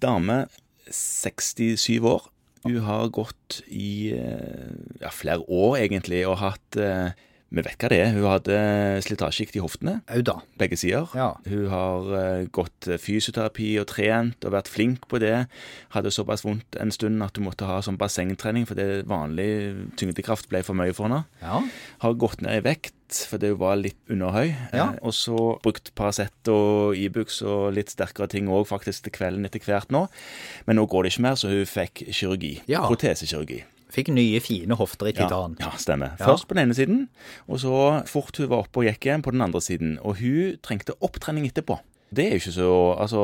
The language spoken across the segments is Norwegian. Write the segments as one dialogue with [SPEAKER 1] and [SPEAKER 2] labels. [SPEAKER 1] dame, 67 år. Hun har gått i eh, ja, flere år, egentlig, og hatt eh, Vi vet hva det er. Hun hadde slitasjegikt i hoftene,
[SPEAKER 2] Au da.
[SPEAKER 1] begge sider.
[SPEAKER 2] Ja.
[SPEAKER 1] Hun har eh, gått fysioterapi og trent og vært flink på det. Hadde såpass vondt en stund at hun måtte ha sånn bassengtrening fordi vanlig tyngdekraft ble for mye for henne.
[SPEAKER 2] Ja.
[SPEAKER 1] Har gått ned i vekt fordi hun var litt underhøy.
[SPEAKER 2] Ja.
[SPEAKER 1] Eh, Og så brukt Paracet og Ibux og litt sterkere ting òg faktisk til kvelden etter hvert nå. Men nå går det ikke mer, så hun fikk kirurgi.
[SPEAKER 2] Ja.
[SPEAKER 1] Protesekirurgi.
[SPEAKER 2] Fikk nye, fine hofter i titan.
[SPEAKER 1] Ja, ja, stemmer.
[SPEAKER 2] Ja.
[SPEAKER 1] Først på den ene siden, og så fort hun var oppe og gikk igjen på den andre siden. Og hun trengte opptrening etterpå. Det er jo ikke så altså,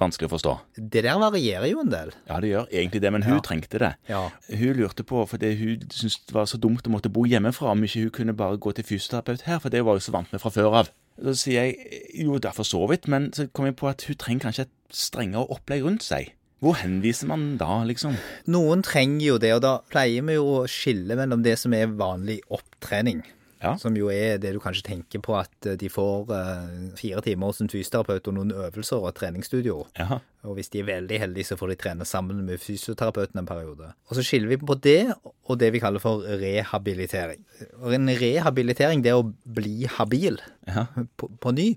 [SPEAKER 1] vanskelig å forstå.
[SPEAKER 2] Det der varierer jo en del.
[SPEAKER 1] Ja, det gjør egentlig det, men hun
[SPEAKER 2] Ja.
[SPEAKER 1] trengte det.
[SPEAKER 2] Ja.
[SPEAKER 1] Hun lurte på, fordi hun syntes det var så dumt å måtte bo hjemmefra, om ikke hun kunne bare gå til fysioterapeut her, for det var hun så vant med fra før av. Så sier jeg jo, det er for så vidt, men så kom jeg på at hun trenger kanskje et strengere opplegg rundt seg. Hvor henviser man da, liksom?
[SPEAKER 2] Noen trenger jo det, og da pleier vi jo å skille mellom det som er vanlig opptrening,
[SPEAKER 1] Ja.
[SPEAKER 2] som jo er det du kanskje tenker på at eh, de får eh, fire timer hos en fysioterapeut og noen øvelser og et treningsstudio.
[SPEAKER 1] Ja.
[SPEAKER 2] Og hvis de er veldig heldige, så får de trene sammen med fysioterapeuten en periode. Og så skiller vi på det og det vi kaller for rehabilitering. Og en rehabilitering, det å bli habil
[SPEAKER 1] Ja.
[SPEAKER 2] på, på ny,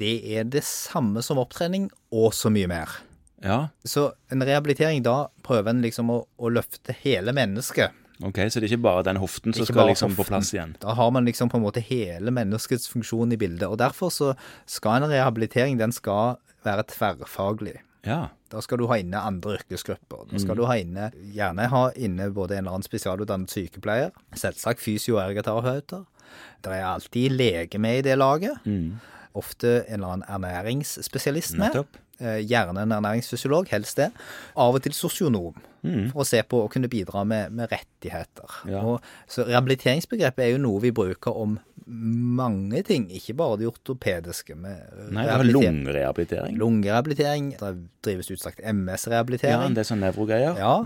[SPEAKER 2] det er det samme som opptrening og så mye mer.
[SPEAKER 1] ja.
[SPEAKER 2] Så en rehabilitering, da prøver en liksom å, å løfte hele mennesket.
[SPEAKER 1] Ok, så det er ikke bare den hoften som
[SPEAKER 2] Ikke
[SPEAKER 1] skal
[SPEAKER 2] bare
[SPEAKER 1] liksom på
[SPEAKER 2] hoften.
[SPEAKER 1] plass igjen?
[SPEAKER 2] Da har man liksom på en måte hele menneskets funksjon i bildet. Og derfor så skal en rehabilitering, den skal være tverrfaglig.
[SPEAKER 1] Ja.
[SPEAKER 2] Da skal du ha inne andre yrkesgrupper. Da
[SPEAKER 1] Mm.
[SPEAKER 2] skal du ha inne, gjerne ha inne både en eller annen spesialutdannet sykepleier, selvsagt fysioergoterapeuter. Det er alltid lege med i det laget. Ofte en eller annen ernæringsspesialist med.
[SPEAKER 1] Mm. Nettopp.
[SPEAKER 2] Eh, Gjerne en ernæringsfysiolog, helst det. Av og til sosionom, for å se på og kunne bidra med, med rettigheter.
[SPEAKER 1] Mm. Ja.
[SPEAKER 2] Og, så rehabiliteringsbegrepet er jo noe vi bruker om mange ting, ikke bare det ortopediske. Med
[SPEAKER 1] Nei, det var
[SPEAKER 2] rehabilitering.
[SPEAKER 1] lungerehabilitering.
[SPEAKER 2] Lungerehabilitering, det drives utstrakt
[SPEAKER 1] Ja, en
[SPEAKER 2] MS-rehabilitering.
[SPEAKER 1] del sånne sånn nevrogreier.
[SPEAKER 2] Ja,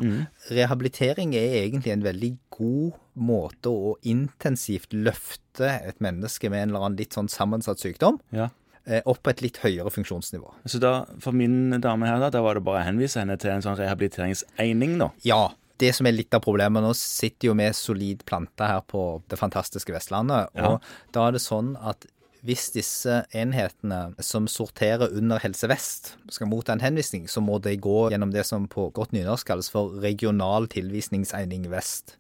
[SPEAKER 2] Rehabilitering er egentlig en veldig god måte å intensivt løfte et menneske med en eller annen litt sånn sammensatt sykdom
[SPEAKER 1] Ja.
[SPEAKER 2] eh, opp på et litt høyere funksjonsnivå.
[SPEAKER 1] Så da, for min dame her, da, da var det bare å henvise henne til en sånn rehabiliteringsegning, da.
[SPEAKER 2] Ja, det som er litt av problemet nå, sitter jo med solid plante her på det fantastiske Vestlandet. Og da er det sånn at hvis disse enhetene som sorterer under Helse Vest skal motta en henvisning, så må de gå gjennom det som på godt nynorsk kalles for regional tilvisningsegning vest.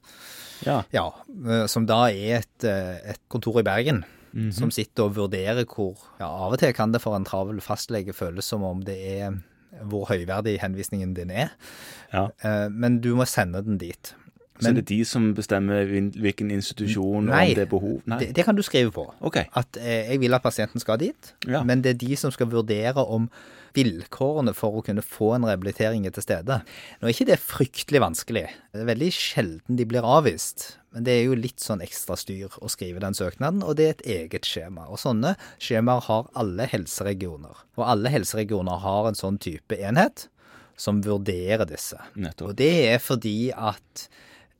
[SPEAKER 1] Ja.
[SPEAKER 2] Ja, eh, som da er et, eh, et kontor i Bergen. Som sitter og vurderer hvor ja, Av og til kan det for en travel fastlege føles som om det er hvor høyverdig henvisningen din er,
[SPEAKER 1] ja.
[SPEAKER 2] Eh, men du må sende den dit.
[SPEAKER 1] Så det er de som bestemmer hvil- hvilken institusjon og om det er behov? Nei.
[SPEAKER 2] Det, det kan du skrive på.
[SPEAKER 1] Ok.
[SPEAKER 2] At eh, jeg vil at pasienten skal dit,
[SPEAKER 1] Ja.
[SPEAKER 2] men det er de som skal vurdere om vilkårene for å kunne få en rehabilitering er til stede. Nå er ikke det fryktelig vanskelig. Det er veldig sjelden de blir avvist. Men det er jo litt sånn ekstra styr å skrive den søknaden, og det er et eget skjema. Og sånne skjemaer har alle helseregioner. Og alle helseregioner har en sånn type enhet som vurderer disse. Og
[SPEAKER 1] Nettopp.
[SPEAKER 2] det er fordi at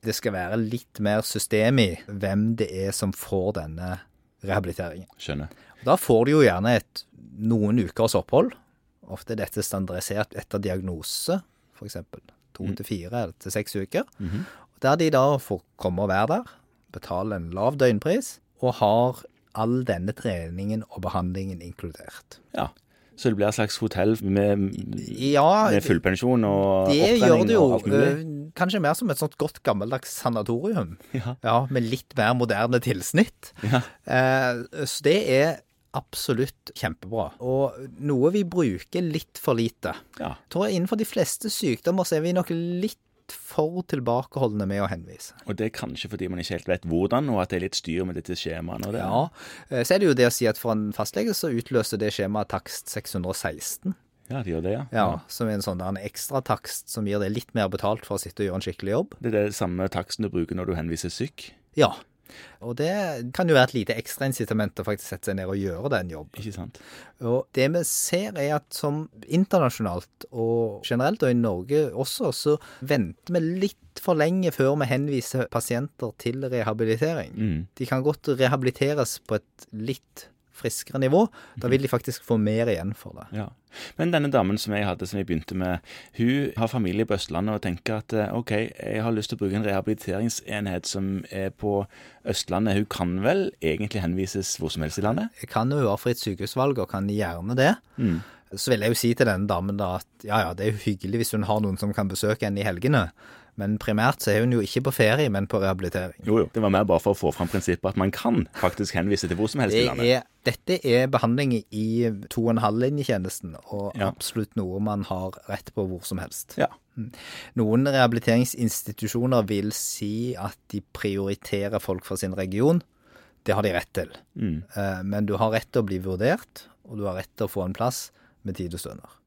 [SPEAKER 2] det skal være litt mer system i hvem det er som får denne rehabiliteringen.
[SPEAKER 1] Skjønner.
[SPEAKER 2] Da får du jo gjerne et, noen ukers opphold. Ofte er dette standardisert etter diagnose, f.eks. to til fire eller til seks uker. Der de da får komme og være der, betale en lav døgnpris, og har all denne treningen og behandlingen inkludert.
[SPEAKER 1] Ja. Så det blir et slags hotell med, med
[SPEAKER 2] Ja,
[SPEAKER 1] fullpensjon og
[SPEAKER 2] Det gjør
[SPEAKER 1] opptrening
[SPEAKER 2] det jo.
[SPEAKER 1] og alt mulig?
[SPEAKER 2] øh, Kanskje mer som et sånt godt gammeldags sanatorium.
[SPEAKER 1] Ja.
[SPEAKER 2] Med litt mer moderne tilsnitt.
[SPEAKER 1] Ja.
[SPEAKER 2] Eh, Så det er absolutt kjempebra. Og noe vi bruker litt for lite.
[SPEAKER 1] ja.
[SPEAKER 2] Jeg tror innenfor de fleste sykdommer så er vi nok litt for tilbakeholdne med å henvise.
[SPEAKER 1] Og det er kanskje fordi man ikke helt vet hvordan, og at det er litt styr med disse skjemaene og det.
[SPEAKER 2] Ja, eh, Så er det jo det å si at for en fastlege så utløser det skjemaet takst 616.
[SPEAKER 1] Ja, de gjør det, ja.
[SPEAKER 2] Ja, Som er en sånn der en ekstra takst som gir deg litt mer betalt for å sitte og gjøre en skikkelig jobb.
[SPEAKER 1] Det er det samme taksten du bruker når du henviser syk.
[SPEAKER 2] Ja. Og det kan jo være et lite ekstra incitament til å faktisk sette seg ned og gjøre den jobben.
[SPEAKER 1] Ikke sant?
[SPEAKER 2] Og det vi ser er at som internasjonalt og generelt, og i Norge også, så venter vi litt for lenge før vi henviser pasienter til rehabilitering.
[SPEAKER 1] Mm.
[SPEAKER 2] De kan godt rehabiliteres på et litt friskere nivå. Da vil de faktisk få mer igjen for det.
[SPEAKER 1] Ja. Men denne damen som jeg hadde, som jeg begynte med, hun har familie på Østlandet og tenker at eh, OK, jeg har lyst til å bruke en rehabiliteringsenhet som er på Østlandet. Hun kan vel egentlig henvises hvor som helst i landet?
[SPEAKER 2] Jeg kan jo ha fritt sykehusvalg, og kan gjerne det.
[SPEAKER 1] Mm.
[SPEAKER 2] Så vil jeg jo si til denne damen da at ja ja, det er jo hyggelig hvis hun har noen som kan besøke henne i helgene, men primært så er hun jo ikke på ferie, men på rehabilitering.
[SPEAKER 1] Jo, jo. Det var mer bare for å få fram prinsippet at man kan faktisk henvise til hvor som helst
[SPEAKER 2] Det
[SPEAKER 1] i landet.
[SPEAKER 2] er, dette er behandling i to og en halv linjetjenesten, og
[SPEAKER 1] Ja.
[SPEAKER 2] absolutt noe man har rett på hvor som helst.
[SPEAKER 1] Ja.
[SPEAKER 2] Noen rehabiliteringsinstitusjoner vil si at de prioriterer folk fra sin region. Det har de rett til.
[SPEAKER 1] Mm.
[SPEAKER 2] Eh, Men du har rett til å bli vurdert, og du har rett til å få en plass med tid og stunder.